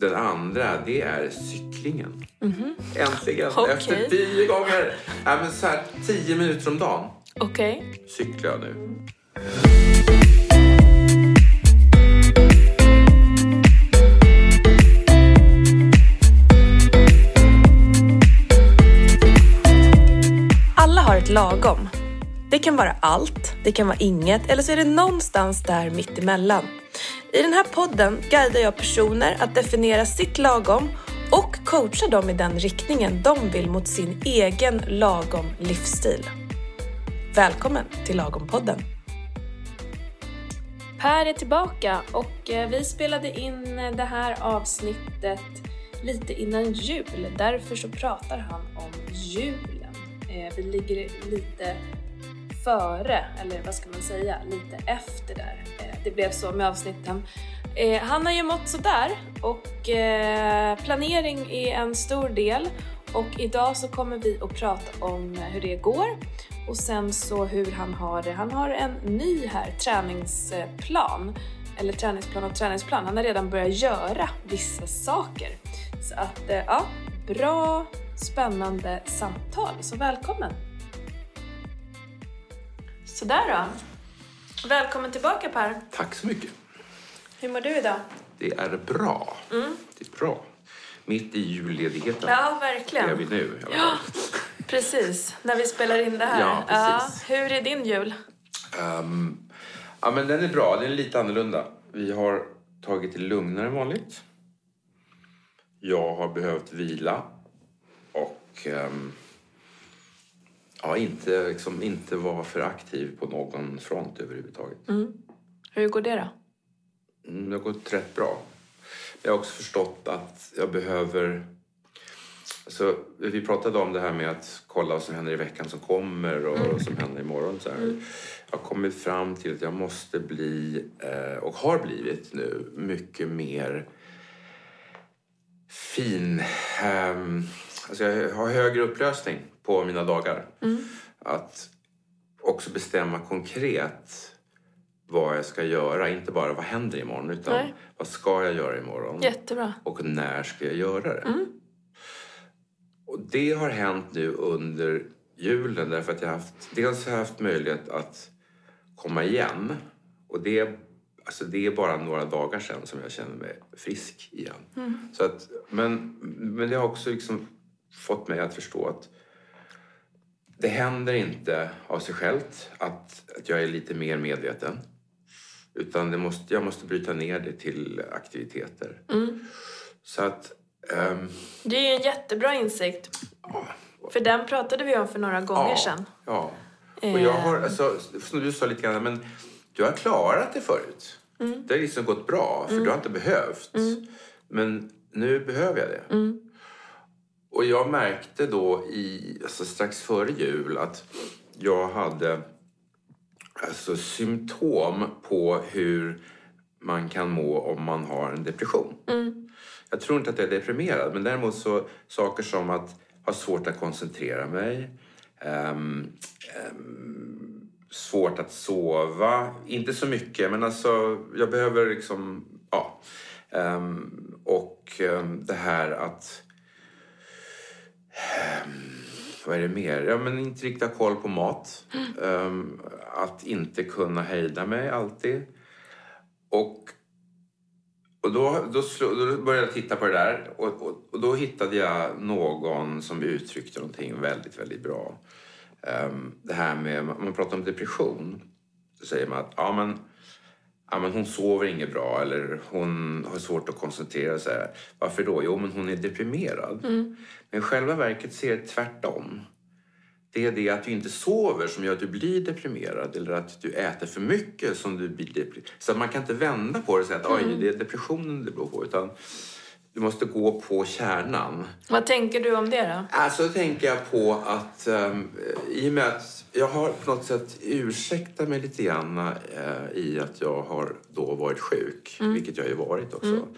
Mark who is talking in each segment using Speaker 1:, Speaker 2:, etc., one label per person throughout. Speaker 1: Den andra, det är cyklingen. Äntligen! Efter tio gånger! Ja, men så här, tio minuter om dagen
Speaker 2: Okej.
Speaker 1: cyklar jag nu.
Speaker 2: Alla har ett lagom. Det kan vara allt, det kan vara inget eller så är det någonstans där mittemellan. I den här podden guidar jag personer att definiera sitt lagom och coachar dem i den riktningen de vill mot sin egen lagom livsstil. Välkommen till Lagom-podden! Per är tillbaka och eh, vi spelade in eh, det här avsnittet lite innan jul. Därför så pratar han om julen. Eh, Vi ligger lite före, eller vad ska man säga, lite efter där. Eh, Det blev så med avsnitten. Eh, Han har ju mått sådär och eh, planering är en stor del och idag så kommer vi att prata om hur det går och sen så hur han har det. Han har en ny här träningsplan, eller träningsplan och träningsplan. Han har redan börjat göra vissa saker. Så att eh, ja, bra spännande samtal. Så välkommen! Sådär då. Välkommen tillbaka Per.
Speaker 1: Tack så mycket.
Speaker 2: Hur mår du idag?
Speaker 1: Det är bra. Det är bra. Mitt i julledigheten.
Speaker 2: Ja,
Speaker 1: Det är
Speaker 2: verkligen.
Speaker 1: vi nu. i alla fall.
Speaker 2: Precis, när vi spelar in det här.
Speaker 1: Ja, precis.
Speaker 2: hur är din jul?
Speaker 1: Ehm, ja, men den är bra. Den är lite annorlunda. Vi har tagit det lugnare än vanligt. Jag har behövt vila och ehm, ja, inte, liksom, inte vara för aktiv på någon front överhuvudtaget.
Speaker 2: Hur går det då?
Speaker 1: Mm, det har gått rätt bra. Jag har också förstått att jag behöver... Alltså, vi pratade om det här med att kolla vad som händer i veckan som kommer och vad som händer imorgon. Så här. Jag har kommit fram till att jag måste bli, eh, och har blivit nu, mycket mer fin... ehm, alltså jag har högre upplösning på mina dagar. Att också bestämma konkret vad jag ska göra. Inte bara vad händer imorgon utan
Speaker 2: Nej.
Speaker 1: vad ska jag göra imorgon?
Speaker 2: Jättebra.
Speaker 1: Och när ska jag göra det? Och det har hänt nu under julen därför att jag har haft, dels har jag haft möjlighet att komma igen. Och det, alltså det är bara några dagar sedan som jag känner mig frisk igen. Så att, men, men det har också liksom fått mig att förstå att det händer inte av sig självt att, att jag är lite mer medveten. Utan det måste, jag måste bryta ner det till aktiviteter. Så att... ehm,
Speaker 2: Det är ju en jättebra insikt. För den pratade vi om för några gånger
Speaker 1: ja,
Speaker 2: sedan. Eh.
Speaker 1: Ja. Och jag har, alltså, som du sa lite grann, men du har klarat det förut.
Speaker 2: Mm.
Speaker 1: Det har liksom gått bra, för du har inte behövt. Men nu behöver jag det.
Speaker 2: Mm.
Speaker 1: Och jag märkte då i, alltså strax före jul att jag hade alltså, symptom på hur man kan må om man har en depression.
Speaker 2: Mm.
Speaker 1: Jag tror inte att jag är deprimerad, men däremot så saker som att ha svårt att koncentrera mig, ehm, ehm, svårt att sova, inte så mycket, men alltså jag behöver liksom, ja. Ehm, och ehm, det här att ehm, vad är det mer? Ja, men inte riktigt ha koll på mat. Ehm, att inte kunna hejda mig alltid. Och, och då, då, slå, då började jag titta på det där och, och, och då hittade jag någon som uttryckte någonting väldigt, väldigt bra. Ehm, det här med, om man pratar om depression, så säger man att ja, men, ja, men hon sover inget bra eller hon har svårt att koncentrera sig. Varför då? Jo, men hon är deprimerad. Men i själva verket så är det tvärtom. Det är det att du inte sover som gör att du blir deprimerad eller att du äter för mycket som du blir deprimerad. Så att man kan inte vända på det och säga att oj, det är depressionen det beror på. Utan du måste gå på kärnan.
Speaker 2: Vad tänker du om det då?
Speaker 1: Alltså tänker jag på att ehm, i och med att jag har på något sätt ursäktat mig lite grann eh, i att jag har då varit sjuk, vilket jag ju varit också.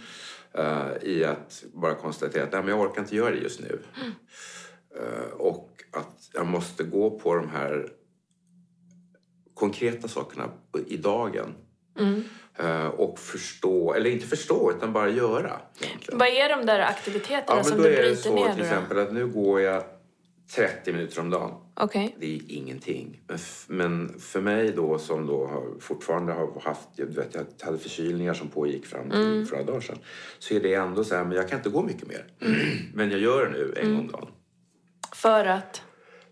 Speaker 1: eh, I att bara konstatera att Nej, men jag orkar inte göra det just nu. Eh, och att jag måste gå på de här konkreta sakerna i dagen. eh, och förstå, eller inte förstå, utan bara göra. egentligen.
Speaker 2: Vad är de där aktiviteterna
Speaker 1: Ja, men
Speaker 2: som
Speaker 1: då
Speaker 2: du
Speaker 1: är det
Speaker 2: Alltså, bryter
Speaker 1: så
Speaker 2: ner?
Speaker 1: till
Speaker 2: då?
Speaker 1: exempel att nu går jag 30 minuter om dagen.
Speaker 2: Okej.
Speaker 1: Det är ingenting. Men, f- men för mig då som då har, fortfarande har haft, jag vet jag hade förkylningar som pågick fram till för några dagar sedan. Så är det ändå så här, men jag kan inte gå mycket mer. Men jag gör det nu en gång om dagen.
Speaker 2: För att?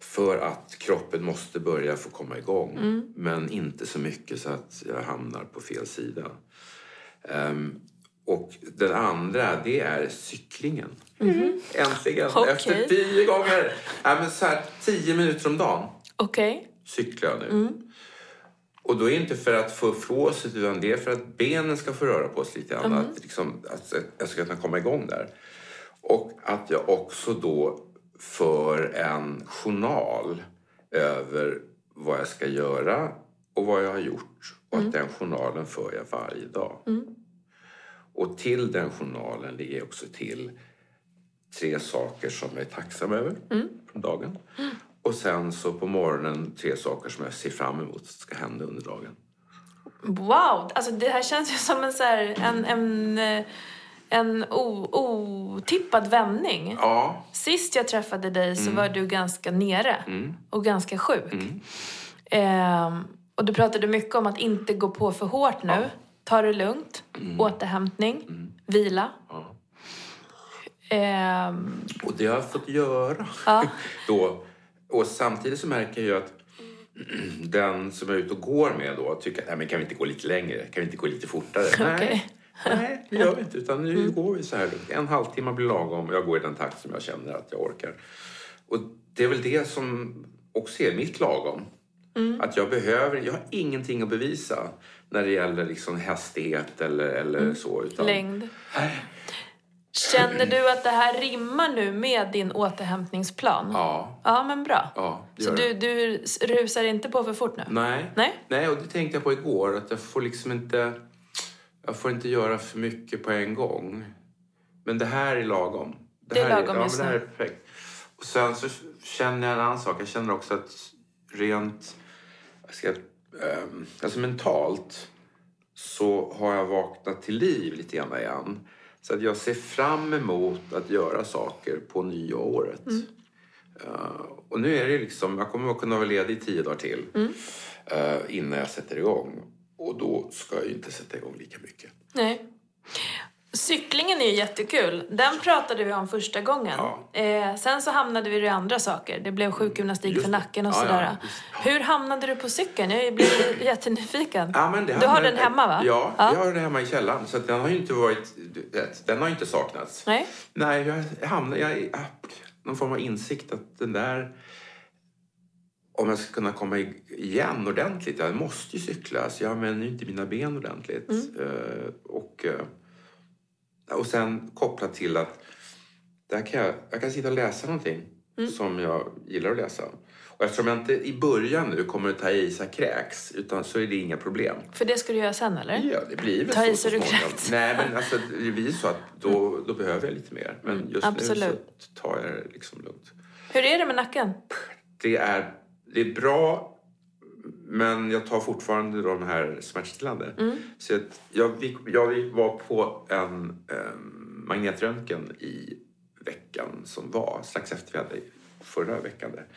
Speaker 1: För att kroppen måste börja få komma igång. Men inte så mycket så att jag hamnar på fel sida. Ehm, och den andra, det är cyklingen. Äntligen!
Speaker 2: Okej.
Speaker 1: Efter tio gånger! Ja, men så här, tio minuter om dagen
Speaker 2: Okej.
Speaker 1: cyklar jag nu. Och då är det inte för att få flåset utan det är för att benen ska få röra på sig lite grann. Att, liksom, att jag ska kunna komma igång där. Och att jag också då för en journal över vad jag ska göra och vad jag har gjort. Och att den journalen för jag varje dag. Och till den journalen ligger också till tre saker som jag är tacksam över från dagen. Och sen så på morgonen tre saker som jag ser fram emot ska hända under dagen.
Speaker 2: Wow! Alltså det här känns ju som en, så här, en, en, eh, en o, otippad vändning.
Speaker 1: Ja,
Speaker 2: Sist jag träffade dig så
Speaker 1: Mm.
Speaker 2: var du ganska nere och ganska sjuk. Ehm, och du pratade mycket om att inte gå på för hårt nu. Ta det lugnt. Återhämtning. Vila.
Speaker 1: Mm. ja.
Speaker 2: Ehm,
Speaker 1: Och det har jag fått göra.
Speaker 2: ja.
Speaker 1: Då. Och samtidigt så märker jag ju att den som jag är ute och går med då tycker att "Nej, men kan vi inte gå lite längre? Kan vi inte gå lite fortare?
Speaker 2: Okej. Mm.
Speaker 1: Nej, nej det gör vi inte. Utan nu går vi så här. lugnt. En halvtimme blir lagom och jag går i den takt som jag känner att jag orkar. Och det är väl det som också är mitt lagom.
Speaker 2: Mm.
Speaker 1: Att jag behöver, jag har ingenting att bevisa när det gäller liksom hastighet eller, eller
Speaker 2: Mm.
Speaker 1: så. Utan,
Speaker 2: Längd.
Speaker 1: Äh.
Speaker 2: Känner du att det här rimmar nu med din återhämtningsplan?
Speaker 1: Ja,
Speaker 2: Ja, men bra.
Speaker 1: ja det
Speaker 2: Så
Speaker 1: gör
Speaker 2: du,
Speaker 1: jag.
Speaker 2: du rusar inte på för fort nu?
Speaker 1: Nej.
Speaker 2: Nej?
Speaker 1: Nej, och det tänkte jag på igår. Att jag får liksom inte... Jag får inte göra för mycket på en gång. Men det här är lagom.
Speaker 2: Det är
Speaker 1: här
Speaker 2: lagom
Speaker 1: ja,
Speaker 2: just
Speaker 1: men det här
Speaker 2: nu.
Speaker 1: är perfekt. Och sen så känner jag en annan sak. Jag känner också att rent... Jag ska, ehm, alltså mentalt så har jag vaknat till liv lite grann igen. Så att jag ser fram emot att göra saker på nyåret.
Speaker 2: Mm.
Speaker 1: Eh, och nu är det liksom, jag kommer att kunna vara ledig i tio dagar till
Speaker 2: Mm.
Speaker 1: eh, innan jag sätter igång. Och då ska jag ju inte sätta igång lika mycket.
Speaker 2: Nej. Cyklingen är ju jättekul. Den pratade vi om första gången.
Speaker 1: Ja.
Speaker 2: Eh, sen så hamnade vi i andra saker. Det blev sjukgymnastik
Speaker 1: Just
Speaker 2: för
Speaker 1: det.
Speaker 2: nacken och
Speaker 1: Ja, ja,
Speaker 2: sådär.
Speaker 1: just
Speaker 2: Hur hamnade du på cykeln? Jag blev jättenyfiken.
Speaker 1: Ja, men det
Speaker 2: du har
Speaker 1: hamnar-
Speaker 2: den hemma va?
Speaker 1: Ja, jag har den hemma i källaren. Så att den har ju inte varit, du vet, den har ju inte saknats.
Speaker 2: Nej?
Speaker 1: Nej, jag hamnar jag, i- ah, någon form av insikt att den där... Om jag ska kunna komma i- igen ordentligt, jag måste ju cykla. Så jag använder ju inte mina ben ordentligt.
Speaker 2: Mm.
Speaker 1: Eh, och, eh, och sen kopplat till att där kan jag, jag kan sitta och läsa någonting
Speaker 2: Mm.
Speaker 1: som jag gillar att läsa. Och eftersom jag inte i början nu kommer att ta i så jag kräks, utan så är det inga problem.
Speaker 2: För det ska du göra sen eller?
Speaker 1: Ja, det blir väl
Speaker 2: Ta
Speaker 1: så
Speaker 2: i så du
Speaker 1: småningom.
Speaker 2: kräks.
Speaker 1: Nej, men alltså, det blir så att då, då behöver jag lite mer. Men just nu
Speaker 2: absolut.
Speaker 1: så tar jag det liksom lugnt.
Speaker 2: Hur är det med nacken?
Speaker 1: Det är, det är bra, men jag tar fortfarande de här smärtstillande.
Speaker 2: Mm.
Speaker 1: Så att jag, fick, jag var på en eh, magnetröntgen i veckan som var, strax efter vi hade förra veckan. Där.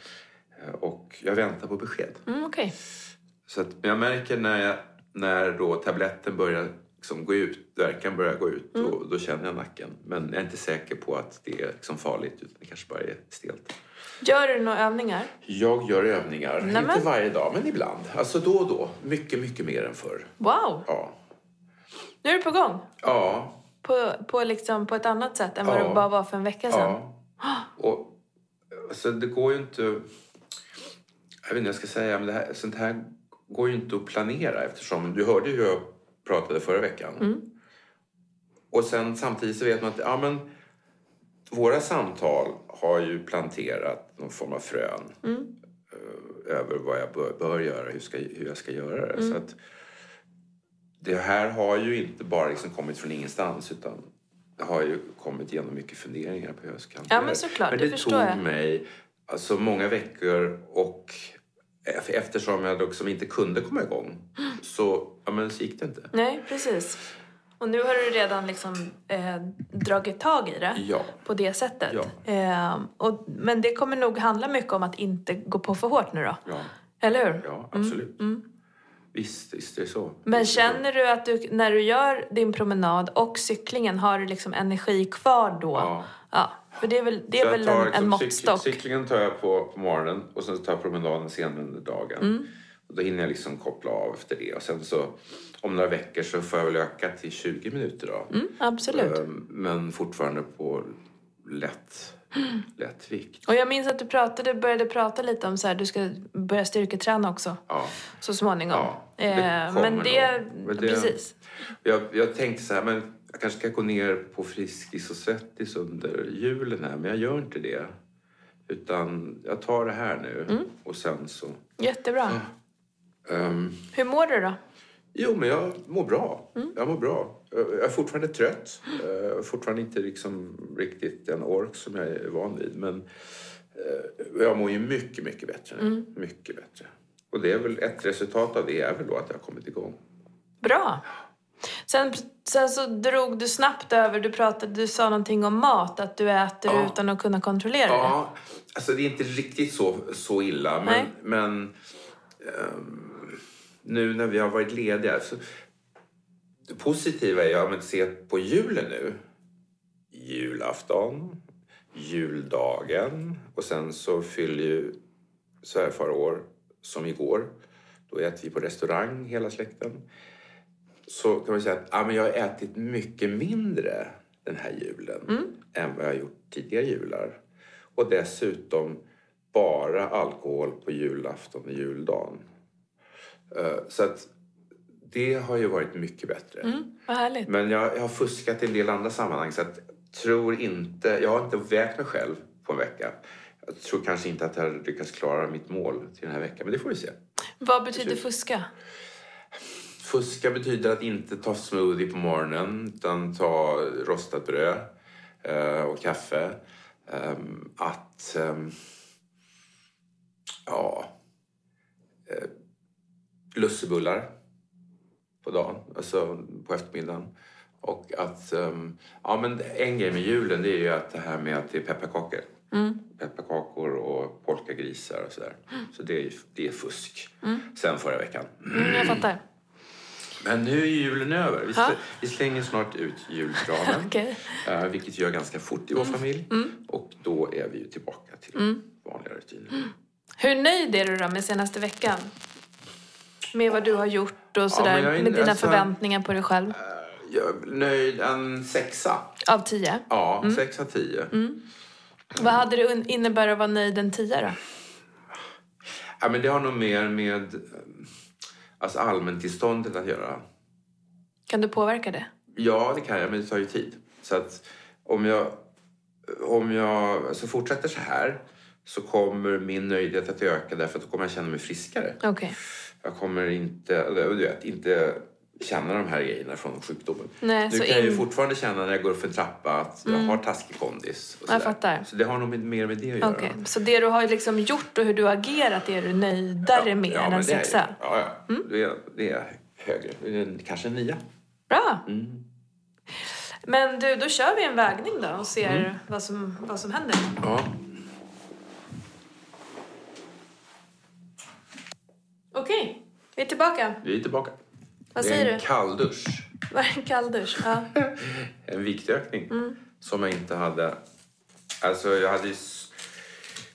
Speaker 1: Eh, Och jag väntar på besked.
Speaker 2: Mm, Okej.
Speaker 1: Så att, men jag märker när, jag, när då tabletten börjar liksom gå ut, verkan börjar gå ut, då, då känner jag nacken. Men jag är inte säker på att det är liksom farligt, utan det kanske bara är stelt.
Speaker 2: Gör du några övningar?
Speaker 1: Jag gör övningar,
Speaker 2: Nämen.
Speaker 1: inte varje dag, men ibland. Alltså då och då. Mycket, mycket mer än förr.
Speaker 2: Wow!
Speaker 1: Ja.
Speaker 2: Nu är du på gång.
Speaker 1: Ja.
Speaker 2: På, på, liksom, på ett annat sätt än vad
Speaker 1: Ja.
Speaker 2: du bara var för en vecka sedan.
Speaker 1: ja. Och, alltså det går ju inte... Jag vet inte vad jag ska säga, men det här, sånt här går ju inte att planera eftersom du hörde ju hur jag pratade förra veckan. Och sen samtidigt så vet man att ja, men, våra samtal har ju planterat någon form av frön
Speaker 2: Mm.
Speaker 1: eh, över vad jag bör, bör göra, hur, ska, hur jag ska göra det.
Speaker 2: Mm.
Speaker 1: Så att, det här har ju inte bara liksom kommit från ingenstans utan det har ju kommit genom mycket funderingar på hur jag ska hantera
Speaker 2: men såklart,
Speaker 1: Men
Speaker 2: det
Speaker 1: det,
Speaker 2: förstår
Speaker 1: tog
Speaker 2: jag.
Speaker 1: mig alltså, många
Speaker 2: Mm.
Speaker 1: veckor och e- eftersom jag liksom inte kunde komma igång så Ja, men så gick det inte.
Speaker 2: Nej, precis. Och nu har du redan liksom, eh, dragit tag i det
Speaker 1: Ja.
Speaker 2: på det sättet.
Speaker 1: Ja.
Speaker 2: Eh, och, men det kommer nog handla mycket om att inte gå på för hårt nu då.
Speaker 1: Ja,
Speaker 2: Eller hur?
Speaker 1: ja absolut. Visst, visst det är så.
Speaker 2: Mm, Men
Speaker 1: Visst är det så.
Speaker 2: känner du att du, när du gör din promenad och cyklingen, har du liksom energi kvar då?
Speaker 1: Ja.
Speaker 2: Ja, för det är väl, det är
Speaker 1: Så jag
Speaker 2: väl
Speaker 1: tar
Speaker 2: en,
Speaker 1: liksom
Speaker 2: en
Speaker 1: cyk-
Speaker 2: måttstock?
Speaker 1: cyklingen tar jag på, på morgonen och sen tar jag promenaden senare under dagen.
Speaker 2: Mm.
Speaker 1: Och då hinner jag liksom koppla av efter det. Och sen så om några veckor så får jag väl öka till 20 minuter då.
Speaker 2: Mm, absolut.
Speaker 1: Ehm, Men fortfarande på lätt, lätt vikt.
Speaker 2: Och jag minns att du pratade, började prata lite om så här, du ska börja styrketräna också
Speaker 1: Ja.
Speaker 2: så småningom.
Speaker 1: Ja, det
Speaker 2: Eh,
Speaker 1: kommer
Speaker 2: men, det,
Speaker 1: nog. Men det-
Speaker 2: Precis.
Speaker 1: Jag, jag tänkte så här, men jag kanske ska gå ner på Friskis och Svettis under julen här. Men jag gör inte det. Utan jag tar det här nu. Och sen så...
Speaker 2: Jättebra.
Speaker 1: Mm. ehm,
Speaker 2: Hur mår du då?
Speaker 1: Jo, men jag mår bra. Jag mår bra. Jag jag är fortfarande trött. Jag har fortfarande inte liksom riktigt den ork som jag är van vid. Men eh, jag mår ju mycket, mycket bättre nu. Mycket bättre. Och det är väl ett resultat av det är väl då att jag har kommit igång.
Speaker 2: Bra. Sen, sen så drog du snabbt över, du pratade, du sa någonting om mat, att du äter
Speaker 1: Ja.
Speaker 2: utan att kunna kontrollera det.
Speaker 1: Ja, alltså det är inte riktigt så, så illa. Men,
Speaker 2: Nej.
Speaker 1: men ehm, nu när vi har varit lediga. Så, det positiva är ju att se på julen nu. Julafton, juldagen och sen så fyller ju svärfar år som igår. Då äter vi på restaurang hela släkten. Så kan man säga att ja, men jag har ätit mycket mindre den här julen än vad jag har gjort tidigare jular. Och dessutom bara alkohol på julafton och juldagen. Eh, Så att det har ju varit mycket bättre.
Speaker 2: Mm, vad härligt.
Speaker 1: Men jag, jag har fuskat i en del andra sammanhang så att tror inte, jag har inte vägt mig själv på en vecka. Jag tror kanske inte att jag har lyckats klara mitt mål till den här veckan, men det får vi se.
Speaker 2: Vad betyder fuska?
Speaker 1: Fuska betyder att inte ta smoothie på morgonen utan ta rostat bröd eh, och kaffe. Ehm, att... ehm, ja... eh, lussebullar på dagen, alltså på eftermiddagen. Och att... ehm, ja, men en grej med julen det är ju att det här med att det är pepparkakor. Pepparkakor och polkagrisar och sådär. Så det är, ju- det är fusk. Sen förra veckan.
Speaker 2: Mm, jag fattar.
Speaker 1: Men nu är julen över. Vi,
Speaker 2: Ja.
Speaker 1: slä, vi slänger snart ut julgranen.
Speaker 2: Okej. Mm.
Speaker 1: eh, vilket gör ganska fort i vår familj. Och då är vi ju tillbaka till vanliga rutiner.
Speaker 2: Mm. Hur nöjd är du då med senaste veckan? Med vad du har gjort och
Speaker 1: men
Speaker 2: sådär,
Speaker 1: jag är-
Speaker 2: med dina
Speaker 1: alltså-
Speaker 2: förväntningar på dig själv?
Speaker 1: Eh, jag är nöjd. En sexa.
Speaker 2: Av tio?
Speaker 1: Ja, sex av tio.
Speaker 2: Mm. Vad hade det un- inneburit att vara nöjd en tio då?
Speaker 1: Ja, men det har nog mer med eh, alltså allmäntillståndet att göra.
Speaker 2: Kan du påverka det?
Speaker 1: Ja, det kan jag, men det tar ju tid. Så att om jag, om jag alltså fortsätter så här så kommer min nöjdhet att öka därför att då kommer jag känna mig friskare.
Speaker 2: Okej.
Speaker 1: Jag kommer inte, eller du vet, inte känna de här grejerna från sjukdomen.
Speaker 2: Nej,
Speaker 1: nu
Speaker 2: så
Speaker 1: kan jag ju
Speaker 2: in- Mm.
Speaker 1: fortfarande känna när jag går upp för en trappa att jag har taskig kondis. Och
Speaker 2: Jag
Speaker 1: sådär.
Speaker 2: fattar.
Speaker 1: Så det har nog med- mer med det att göra.
Speaker 2: Okej, så det du har liksom gjort och hur du har agerat är du nöjdare med
Speaker 1: men
Speaker 2: än en
Speaker 1: det är-
Speaker 2: sexa? Mm.
Speaker 1: Ja, ja. Det, är, det är högre. Det är Kanske en nia.
Speaker 2: Bra! Mm. Men du, då kör vi en vägning då och ser
Speaker 1: Mm.
Speaker 2: vad, som, vad som händer.
Speaker 1: Ja.
Speaker 2: Okej, vi är tillbaka.
Speaker 1: Vi är tillbaka.
Speaker 2: Vad
Speaker 1: det är
Speaker 2: säger
Speaker 1: en
Speaker 2: du?
Speaker 1: kalldusch.
Speaker 2: Var det en kalldusch? Ja.
Speaker 1: en viktökning
Speaker 2: Mm.
Speaker 1: som jag inte hade... Alltså jag hade ju... s-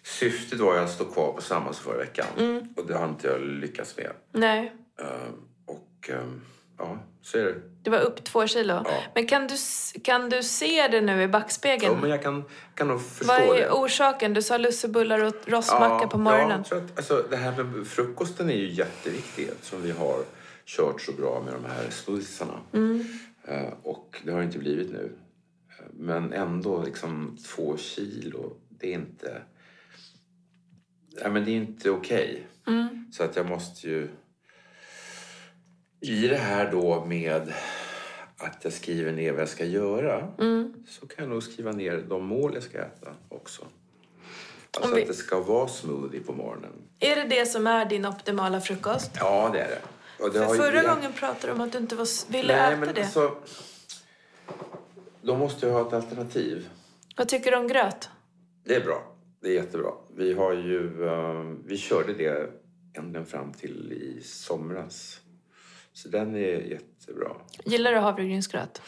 Speaker 1: Syftet var ju att stå kvar på samma som förra veckan
Speaker 2: Mm.
Speaker 1: och det har inte jag lyckats med.
Speaker 2: Nej,
Speaker 1: Ehm, och ehm, ja, så är det.
Speaker 2: det var upp två kilo.
Speaker 1: Ja.
Speaker 2: Men kan du, s- kan du se det nu i backspegeln?
Speaker 1: Ja, men jag kan, kan nog förstå
Speaker 2: Mm. vad
Speaker 1: det.
Speaker 2: är orsaken? Du sa lussebullar och rostmacka på morgonen.
Speaker 1: Ja, så att, alltså, det här med frukosten är ju jätteviktigt som vi har kört så bra med de här smoothiesarna.
Speaker 2: Mm.
Speaker 1: Eh, och det har det inte blivit nu. Eh, Men ändå liksom två kilo, det är inte... Ja, men det är inte okej.
Speaker 2: Mm.
Speaker 1: Så att jag måste ju... I det här då med att jag skriver ner vad jag ska göra
Speaker 2: Mm.
Speaker 1: så kan jag nog skriva ner de mål jag ska äta också. Alltså
Speaker 2: Om vi-
Speaker 1: att det ska vara smoothie på morgonen.
Speaker 2: Är det det som är din optimala frukost?
Speaker 1: Ja, det är det. Och det har
Speaker 2: För
Speaker 1: ju
Speaker 2: förra
Speaker 1: det-
Speaker 2: gången pratade du om att du inte var, s- ville
Speaker 1: Nej,
Speaker 2: äta
Speaker 1: men
Speaker 2: det.
Speaker 1: alltså... De måste ju ha ett alternativ.
Speaker 2: Vad tycker du om gröt?
Speaker 1: Det är bra. Det är jättebra. Vi har ju... eh, vi körde det ända fram till i somras. Så den är jättebra.
Speaker 2: Gillar du havregrynsgröt?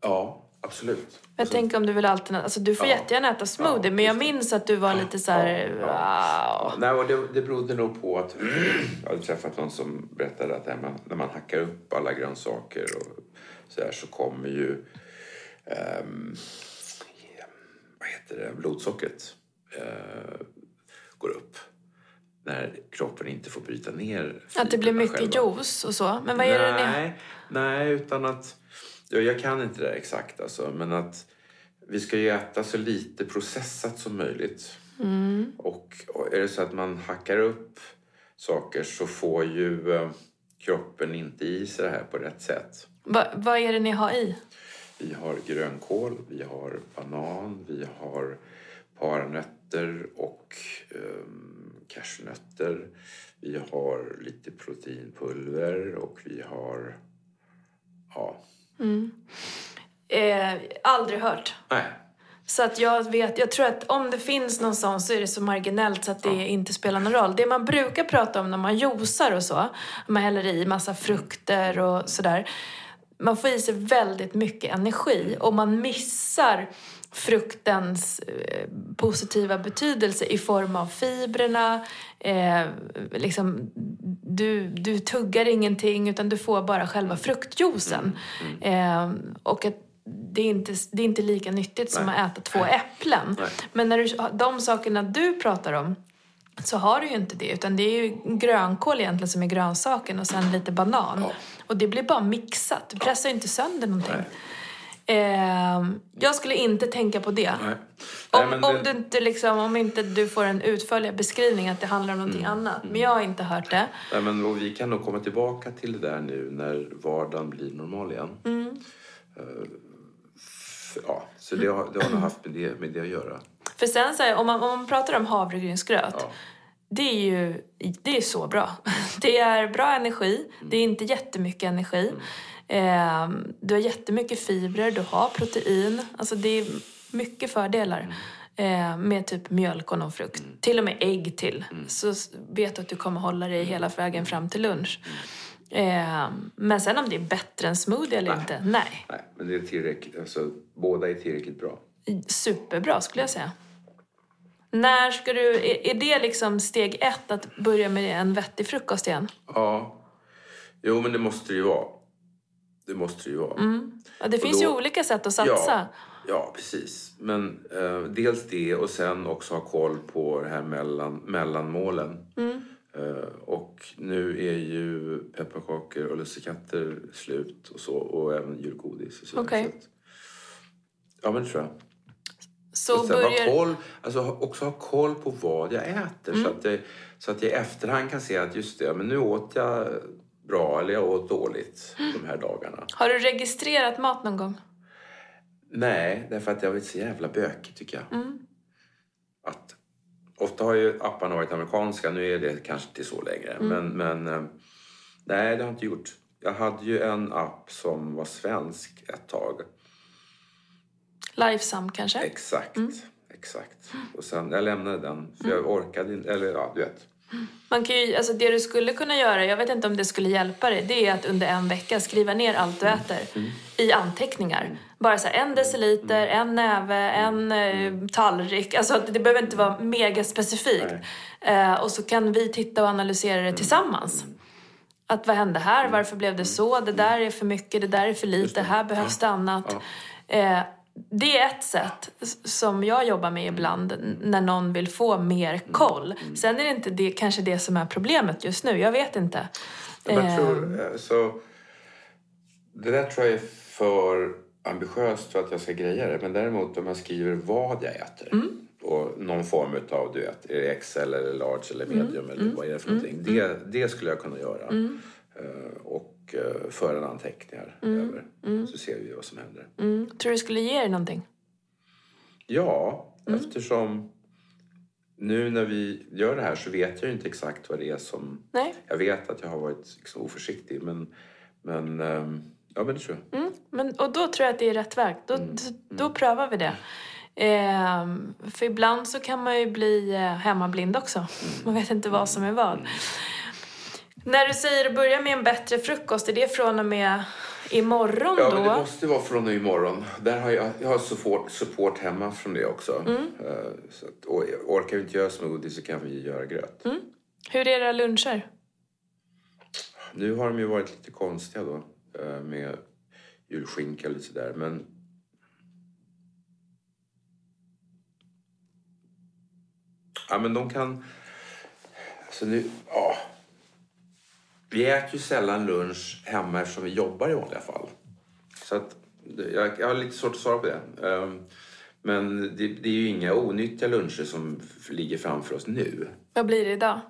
Speaker 1: Ja, absolut.
Speaker 2: Jag
Speaker 1: Alltså,
Speaker 2: tänker om du vill alternativ. Alltså du får
Speaker 1: Ja.
Speaker 2: jättegärna äta
Speaker 1: Ja,
Speaker 2: smoothie, men jag
Speaker 1: just det.
Speaker 2: minns att du var lite så här...
Speaker 1: Ja,
Speaker 2: "Wow."
Speaker 1: Nej, och det, det berodde nog på att jag hade träffat någon som berättade att när man, när man hackar upp alla grönsaker och så, här, så kommer ju ehm, vad heter det, blodsockret eh, går upp när kroppen inte får bryta ner
Speaker 2: Att det blir
Speaker 1: fibrerna
Speaker 2: mycket
Speaker 1: själva.
Speaker 2: juice och så. Men vad är det ni...
Speaker 1: nej, nej, utan att... Jag, jag kan inte det där exakt, alltså, men att vi ska ju äta så lite processat som möjligt.
Speaker 2: Mm.
Speaker 1: Och, och är det så att man hackar upp saker så får ju eh, kroppen inte i sig det här på rätt sätt.
Speaker 2: Va, vad är det ni har i?
Speaker 1: Vi har grönkål, vi har banan, vi har paranötter och um, cashewnötter. Vi har lite proteinpulver och vi har... Ja.
Speaker 2: Eh, aldrig hört.
Speaker 1: Nej.
Speaker 2: Så att jag vet, jag tror att om det finns någon sån så är det så marginellt så att det inte spelar någon roll. Det man brukar prata om när man juicar och så, man häller i massa frukter och sådär. Man får i sig väldigt mycket energi och man missar fruktens eh, positiva betydelse i form av fibrerna. Eh, liksom, du, du tuggar ingenting utan du får bara själva fruktjuicen. Eh, och att det är, inte, det är inte lika nyttigt som
Speaker 1: Nej.
Speaker 2: att äta två äpplen.
Speaker 1: Nej.
Speaker 2: Men när du, de sakerna du pratar om så har du ju inte det. Utan det är ju grönkål egentligen som är grönsaken och sen lite banan.
Speaker 1: Ja.
Speaker 2: Och det blir bara mixat. Du pressar ju inte sönder någonting. Ehm, jag skulle inte tänka på det.
Speaker 1: Nej. Nej,
Speaker 2: Om,
Speaker 1: men
Speaker 2: om,
Speaker 1: det-
Speaker 2: du inte liksom, om inte du får en utförlig beskrivning att det handlar om någonting
Speaker 1: Mm.
Speaker 2: annat. Men jag har inte hört det.
Speaker 1: Nej, men, och vi kan nog komma tillbaka till det där nu när vardagen blir normal igen.
Speaker 2: Mm.
Speaker 1: Eh, f- ja, så det har, det har nog haft med det, med det att göra.
Speaker 2: För sen så här, om, man, om man pratar om havregrynsgröt.
Speaker 1: Ja.
Speaker 2: Det är ju det är så bra. Det är bra energi. Det är inte jättemycket energi.
Speaker 1: Mm.
Speaker 2: Ehm, du har jättemycket fibrer, du har protein. Alltså det är mycket fördelar.
Speaker 1: Mm.
Speaker 2: eh, Med typ mjölk och någon frukt. Till och med ägg till. Så s- vet du att du kommer hålla dig hela
Speaker 1: Mm.
Speaker 2: vägen fram till lunch. Ehm, men sen om det är bättre än smoothie eller
Speaker 1: Nej.
Speaker 2: inte? Nej.
Speaker 1: Nej, men det är tillräckligt, alltså, båda är tillräckligt bra.
Speaker 2: Superbra skulle jag säga. När ska du... Är, är det liksom steg ett att börja med en vettig frukost igen?
Speaker 1: Ja. Jo, men det måste det ju vara. Det måste det ju vara.
Speaker 2: Ja, det finns
Speaker 1: då-
Speaker 2: ju olika sätt att satsa.
Speaker 1: Ja, ja precis. Men eh, dels det och sen också ha koll på det här mellan, mellanmålen. Eh, och nu är ju pepparkakor och lussekatter slut och så och även julgodis och så.
Speaker 2: Okej.
Speaker 1: så att- Ja, men det tror jag.
Speaker 2: Så
Speaker 1: Och sen ha
Speaker 2: börjar...
Speaker 1: koll, alltså ha- också ha koll på vad jag äter så, att jag, så att jag i efterhand kan se att just det, men nu åt jag bra eller jag åt dåligt de här dagarna.
Speaker 2: Har du registrerat mat någon gång?
Speaker 1: Nej, därför att jag varit så jävla bökig tycker jag. Att, ofta har ju apparna varit amerikanska, nu är det kanske inte så längre. Men, men eh, nej, det har jag inte gjort. Jag hade ju en app som var svensk ett tag.
Speaker 2: Lifesam
Speaker 1: Eh,
Speaker 2: kanske?
Speaker 1: Exakt, exakt. Och sen, jag lämnade den för jag orkade inte, eller ja, du vet.
Speaker 2: Man kan ju, alltså det du skulle kunna göra, jag vet inte om det skulle hjälpa dig, det är att under en vecka skriva ner allt du äter i anteckningar. Bara så här, en deciliter, en näve, en eh, tallrik. Alltså det det behöver inte vara mega specifikt. Eh, och så kan vi titta och analysera det tillsammans. Att vad hände här? Varför blev det så? Det där är för mycket, Mm. det där är för lite, här behövs det annat. Eh, det är ett sätt s- som jag jobbar med ibland n- när någon vill få mer koll. Sen är det inte det, kanske det som är problemet just nu, jag vet inte.
Speaker 1: Men
Speaker 2: Eh,
Speaker 1: jag tror, eh, så, det där tror jag är för ambitiöst för att jag ska greja det. Men däremot om jag skriver vad jag äter och någon form av du vet, är det XL eller large eller medium eller vad är det för någonting. Det, det skulle jag kunna göra. Eh, och eh, föra en anteckningar över. Så ser vi vad som händer.
Speaker 2: mm, tror du det skulle ge dig någonting?
Speaker 1: Ja, eftersom nu när vi gör det här så vet jag ju inte exakt vad det är som...
Speaker 2: Nej.
Speaker 1: Jag vet att jag har varit liksom oförsiktig, men, men... ehm, Ja, men det tror jag.
Speaker 2: Mm, men, och då tror jag att det är rätt väg. Då,
Speaker 1: Mm.
Speaker 2: då prövar vi det. Ehm, för ibland så kan man ju bli eh, hemmablind också.
Speaker 1: Mm.
Speaker 2: Man vet inte vad som är vad. När du säger att börja med en bättre frukost, är det från och med imorgon
Speaker 1: Ja,
Speaker 2: då?
Speaker 1: men det måste vara från nu imorgon. Där har jag, jag har support, support hemma från det också.
Speaker 2: Mm.
Speaker 1: Eh, Så att, och orkar vi inte göra smoothie så kan vi göra gröt.
Speaker 2: Hur är era luncher?
Speaker 1: Nu har de ju varit lite konstiga då eh, med julskinka och lite sådär. Men ja, men de kan... Alltså nu... Ja. Vi äter ju sällan lunch hemma eftersom vi jobbar i vanliga fall. Så att det- jag, jag har lite svårt att svara på det. Ehm, Men det, det är ju inga onyttiga luncher som f- ligger framför oss nu.
Speaker 2: Vad blir det idag?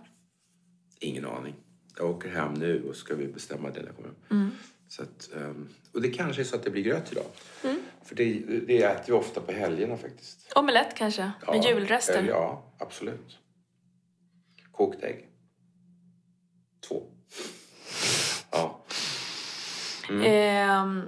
Speaker 1: Ingen aning. Jag åker hem nu och ska vi bestämma det när jag kommer hem. Så att, ehm, och det kanske är så att det blir gröt idag. För det, det äter vi ofta på helgerna faktiskt.
Speaker 2: Omelett kanske? Med julrester?
Speaker 1: eller Ja, absolut. Kokt ägg. Två. Ja.
Speaker 2: Ehm,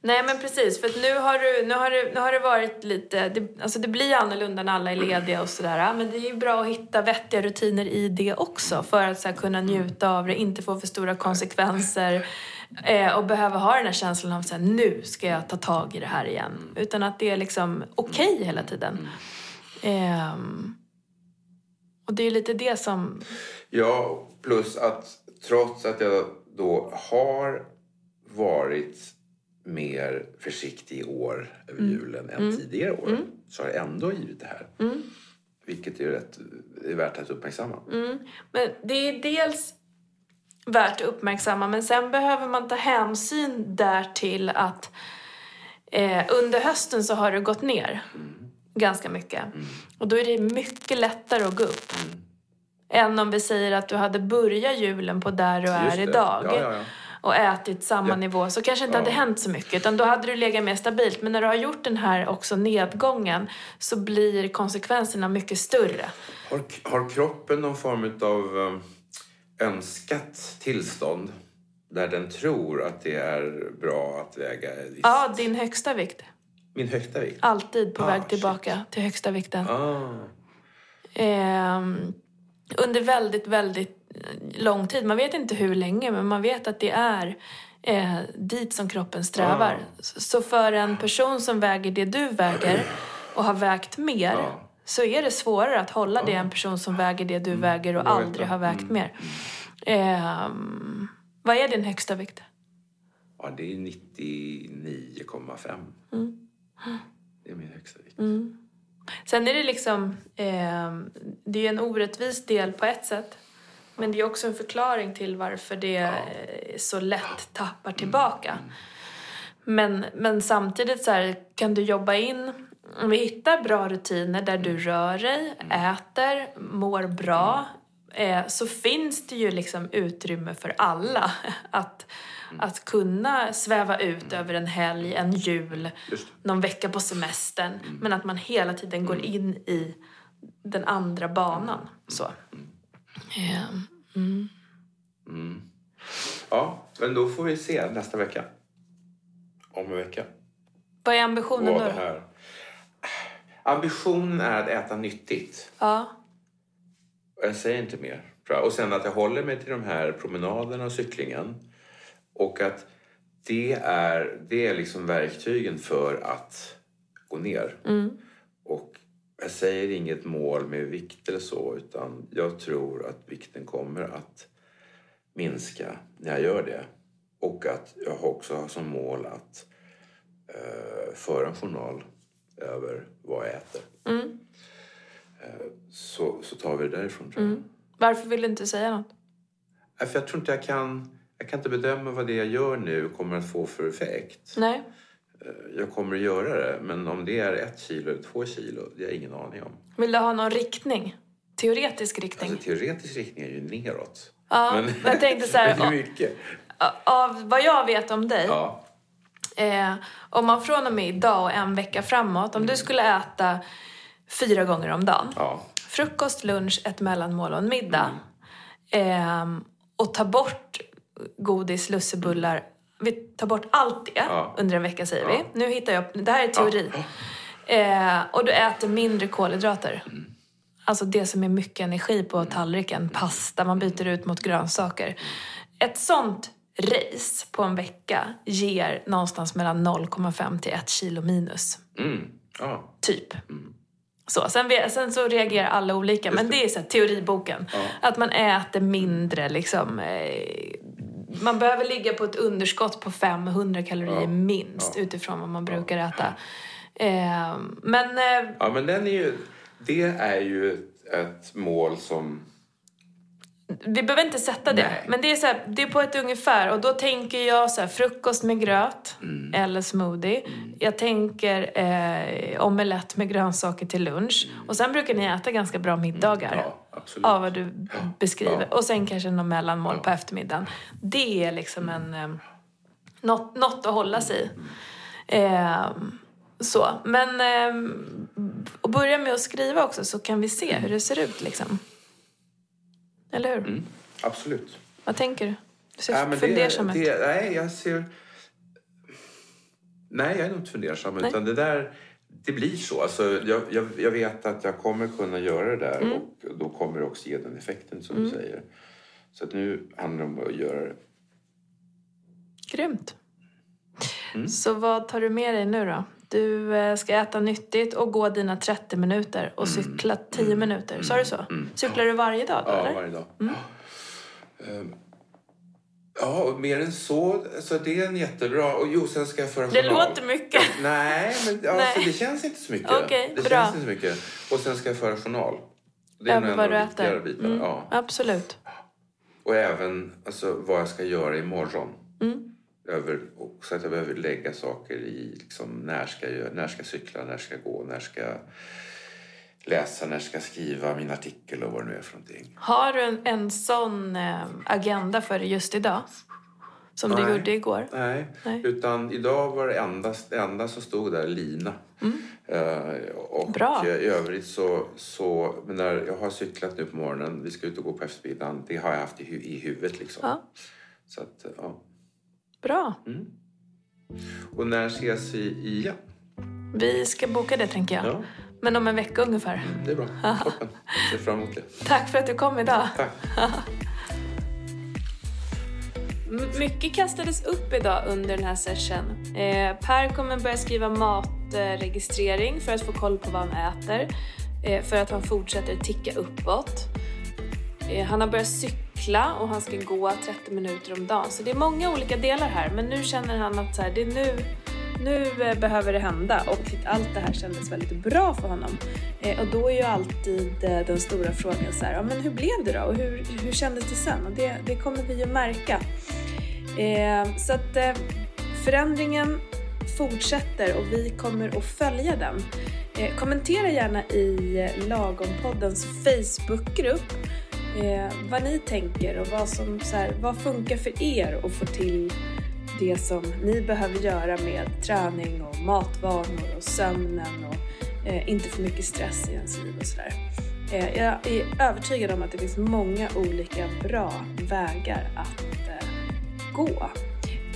Speaker 2: nej men precis, för att nu har, du, nu, har du, nu har det varit lite, det, alltså det blir annorlunda när alla är lediga och sådär. Men det är ju bra att hitta vettiga rutiner i det också för att så här, kunna njuta av det, inte få för stora konsekvenser eh, och behöva ha den här känslan av att nu ska jag ta tag i det här igen. Utan att det är liksom okej hela tiden. Ehm, och det är ju lite det som,
Speaker 1: Ja, plus att trots att jag då har varit mer försiktig i år över julen än tidigare år så har jag ändå givit det här. Vilket är, rätt, är värt att uppmärksamma.
Speaker 2: Men det är dels värt att uppmärksamma men sen behöver man ta hänsyn därtill att eh, under hösten så har det gått ner
Speaker 1: Mm.
Speaker 2: ganska mycket. Och då är det mycket lättare att gå upp.
Speaker 1: Mm.
Speaker 2: Än om vi säger att du hade börjat julen på där du
Speaker 1: Just
Speaker 2: är
Speaker 1: det.
Speaker 2: idag
Speaker 1: Ja, ja, ja.
Speaker 2: och ätit samma
Speaker 1: Ja.
Speaker 2: nivå så kanske inte
Speaker 1: Ja.
Speaker 2: hade hänt så mycket utan då hade du legat mer stabilt. Men när du har gjort den här också nedgången så blir konsekvenserna mycket större.
Speaker 1: Har, har kroppen någon form av eh, önskat tillstånd där den tror att det är bra att väga ett visst-
Speaker 2: Ja, din högsta vikt.
Speaker 1: min högsta vikt?
Speaker 2: alltid på
Speaker 1: Ah,
Speaker 2: väg
Speaker 1: shit.
Speaker 2: tillbaka till högsta vikten.
Speaker 1: Ah.
Speaker 2: Ehm, under väldigt, väldigt eh, lång tid. Man vet inte hur länge, men man vet att det är eh, dit som kroppen strävar.
Speaker 1: Ah.
Speaker 2: Så så för en person som väger det du väger och har vägt mer
Speaker 1: Ja.
Speaker 2: så är det svårare att hålla det än en person som väger det du väger och
Speaker 1: Ah. Mm. jag vet
Speaker 2: aldrig
Speaker 1: det. Mm.
Speaker 2: har vägt mer. Ehm, vad är din högsta vikt?
Speaker 1: Ja, det är 99,5. Det är min högsta vikt.
Speaker 2: Sen är det liksom, eh, det är en orättvis del på ett sätt. Men det är också en förklaring till varför det eh, så lätt tappar tillbaka. Men, men samtidigt så här, kan du jobba in, om vi hittar bra rutiner där du rör dig, äter, mår bra. Eh, så finns det ju liksom utrymme för alla att, att kunna sväva ut över en helg, en jul
Speaker 1: Just det.
Speaker 2: någon vecka på semestern.
Speaker 1: Mm.
Speaker 2: Men att man hela tiden går in i den andra banan.
Speaker 1: Mm.
Speaker 2: Så. Ehm,
Speaker 1: Ja, men då får vi se nästa vecka. Om en vecka.
Speaker 2: Vad är ambitionen
Speaker 1: Vad
Speaker 2: då?
Speaker 1: det här. Ambitionen är att äta nyttigt.
Speaker 2: Ja.
Speaker 1: Och Jag säger inte mer. tror jag. Och sen att jag håller mig till de här promenaderna och cyklingen. Och att det är, det är liksom verktygen för att gå ner. Och jag säger inget mål med vikt eller så utan jag tror att vikten kommer att minska när jag gör det. Och att jag också har som mål att eh, föra en journal över vad jag äter. Eh, så, så tar vi det därifrån tror jag.
Speaker 2: Varför vill du inte säga något?
Speaker 1: Nej, För jag tror inte jag kan... Jag kan inte bedöma vad det jag gör nu kommer att få för effekt.
Speaker 2: Nej.
Speaker 1: Jag kommer att göra det, men om det är ett kilo eller två kilo, det har jag ingen aning om.
Speaker 2: Vill du ha någon riktning? Teoretisk riktning?
Speaker 1: Alltså teoretisk riktning är ju neråt.
Speaker 2: ja, men... jag tänkte så här,
Speaker 1: Alltså, men det är mycket.
Speaker 2: av, av vad jag vet om dig,
Speaker 1: Ja,
Speaker 2: eh, om man
Speaker 1: Mm.
Speaker 2: från och med idag och en vecka framåt, om du skulle äta fyra gånger om dagen
Speaker 1: ja.
Speaker 2: frukost, lunch, ett mellanmål och en middag.
Speaker 1: Mm.
Speaker 2: Ehm, och ta bort godis, lussebullar. Vi tar bort allt det
Speaker 1: Ja.
Speaker 2: under en vecka säger
Speaker 1: Ja.
Speaker 2: vi. Nu hittar jag Det här är teori. Ehm, och du äter mindre kolhydrater.
Speaker 1: Mm.
Speaker 2: Alltså det som är mycket energi på tallriken. Pasta, man byter ut mot
Speaker 1: Mm.
Speaker 2: grönsaker. Ett sånt race på en vecka ger någonstans mellan 0,5 till 1 kilo minus.
Speaker 1: Mm. Ja.
Speaker 2: Typ.
Speaker 1: Mm.
Speaker 2: Så, sen, vi- sen så reagerar alla olika, men det är så här, teoriboken. Att man äter mindre liksom. Eh, man behöver ligga på ett underskott på 500 kalorier minst utifrån vad man brukar äta. Eh, men eh,
Speaker 1: ja, men den är ju... Det är ju ett mål som...
Speaker 2: vi behöver inte sätta det.
Speaker 1: Nej.
Speaker 2: Men det är, så här, det är på ett ungefär. Och då tänker jag så här, frukost med gröt
Speaker 1: Mm.
Speaker 2: eller smoothie. Jag tänker eh, omelett med grönsaker till lunch. Och sen brukar ni äta ganska bra middagar.
Speaker 1: Mm. Ja, absolut.
Speaker 2: Av vad du beskriver. Och sen kanske någon mellanmål på eftermiddagen. Det är liksom en... Eh, något, något att hålla sig i. Ehm, så. Men... ehm, och börja med att skriva också så kan vi se
Speaker 1: Mm.
Speaker 2: hur det ser ut liksom. Eller hur?
Speaker 1: Absolut.
Speaker 2: Vad tänker du? Du ser
Speaker 1: Mm. Ja, men
Speaker 2: fundersam
Speaker 1: det,
Speaker 2: ut.
Speaker 1: det, nej, jag ser... Nej, jag är nog inte fundersam. Utan det där, det blir så. Alltså, jag, jag, jag vet att jag kommer kunna göra det där
Speaker 2: Mm.
Speaker 1: och då kommer det också ge den effekten som du säger. Så att nu handlar det om att göra det.
Speaker 2: Grymt.
Speaker 1: Mm.
Speaker 2: Så vad tar du med dig nu då? Du eh, ska äta nyttigt och gå dina 30 minuter och
Speaker 1: Mm.
Speaker 2: cykla 10 minuter. Sa du så? Cyklar du varje dag då,
Speaker 1: Ja,
Speaker 2: eller?
Speaker 1: varje dag.
Speaker 2: Mm.
Speaker 1: Ehm, Ja, och mer än så. Så det är en jättebra... Och jo, sen ska jag föra
Speaker 2: Det
Speaker 1: journal.
Speaker 2: låter mycket.
Speaker 1: Nej, men ja,
Speaker 2: Nej.
Speaker 1: Så det känns inte så mycket.
Speaker 2: Okej,
Speaker 1: det
Speaker 2: bra.
Speaker 1: känns inte så mycket. Och sen ska jag föra journal. Det är nog
Speaker 2: Över
Speaker 1: en av
Speaker 2: vad du
Speaker 1: de viktigare
Speaker 2: äter.
Speaker 1: bitarna.
Speaker 2: Mm,
Speaker 1: Ja.
Speaker 2: Absolut.
Speaker 1: Och även alltså, vad jag ska göra imorgon.
Speaker 2: Mm.
Speaker 1: Över, och så att jag behöver lägga saker i liksom, när ska jag göra, när ska jag cykla, när ska jag gå, när ska jag läsa, när ska jag skriva min artikel och vad det nu är för någonting.
Speaker 2: Har du en, en sån eh, agenda för dig just idag? Som du
Speaker 1: Nej.
Speaker 2: gjorde igår?
Speaker 1: Nej,
Speaker 2: Nej.
Speaker 1: utan idag var det enda, det enda som stod där lina. Eh, och
Speaker 2: Mm. Bra.
Speaker 1: eh, i övrigt så, så men när jag har cyklat nu på morgonen, vi ska ut och gå på eftermiddagen, det har jag haft i, hu- i huvudet liksom.
Speaker 2: Ja.
Speaker 1: Så att, eh, ja.
Speaker 2: Bra.
Speaker 1: Och när ses vi igen?
Speaker 2: Vi ska boka det tänker jag.
Speaker 1: Ja.
Speaker 2: Men om en vecka ungefär.
Speaker 1: Det är bra. Toppen. Ser fram emot det.
Speaker 2: Tack för att du kom idag.
Speaker 1: Tack.
Speaker 3: M- Mycket kastades upp idag under den här session. Eh, per kommer börja skriva matregistrering för att få koll på vad han äter. Eh, för att han fortsätter ticka uppåt. Eh, han har börjat cykla och han ska gå 30 minuter om dagen. Så det är många olika delar här. Men nu känner han att så här, det är nu, nu eh, behöver det hända. Och allt det här kändes väldigt bra för honom. Eh, och då är ju alltid eh, den stora frågan så här, ja, men hur blev det då? Och hur, hur kändes det sen? Och det, det kommer vi ju märka. Eh, så att eh, förändringen fortsätter och vi kommer att följa den. Eh, kommentera gärna i eh, Lagompoddens Facebookgrupp eh, vad ni tänker och vad, som, så här, vad funkar för er att få till det som ni behöver göra med träning och matvanor och sömnen och eh, inte för mycket stress i ens liv och sådär. Eh, jag är övertygad om att det finns många olika bra vägar att eh, gå.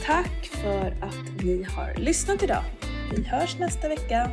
Speaker 3: Tack för att ni har lyssnat idag. Vi hörs nästa vecka.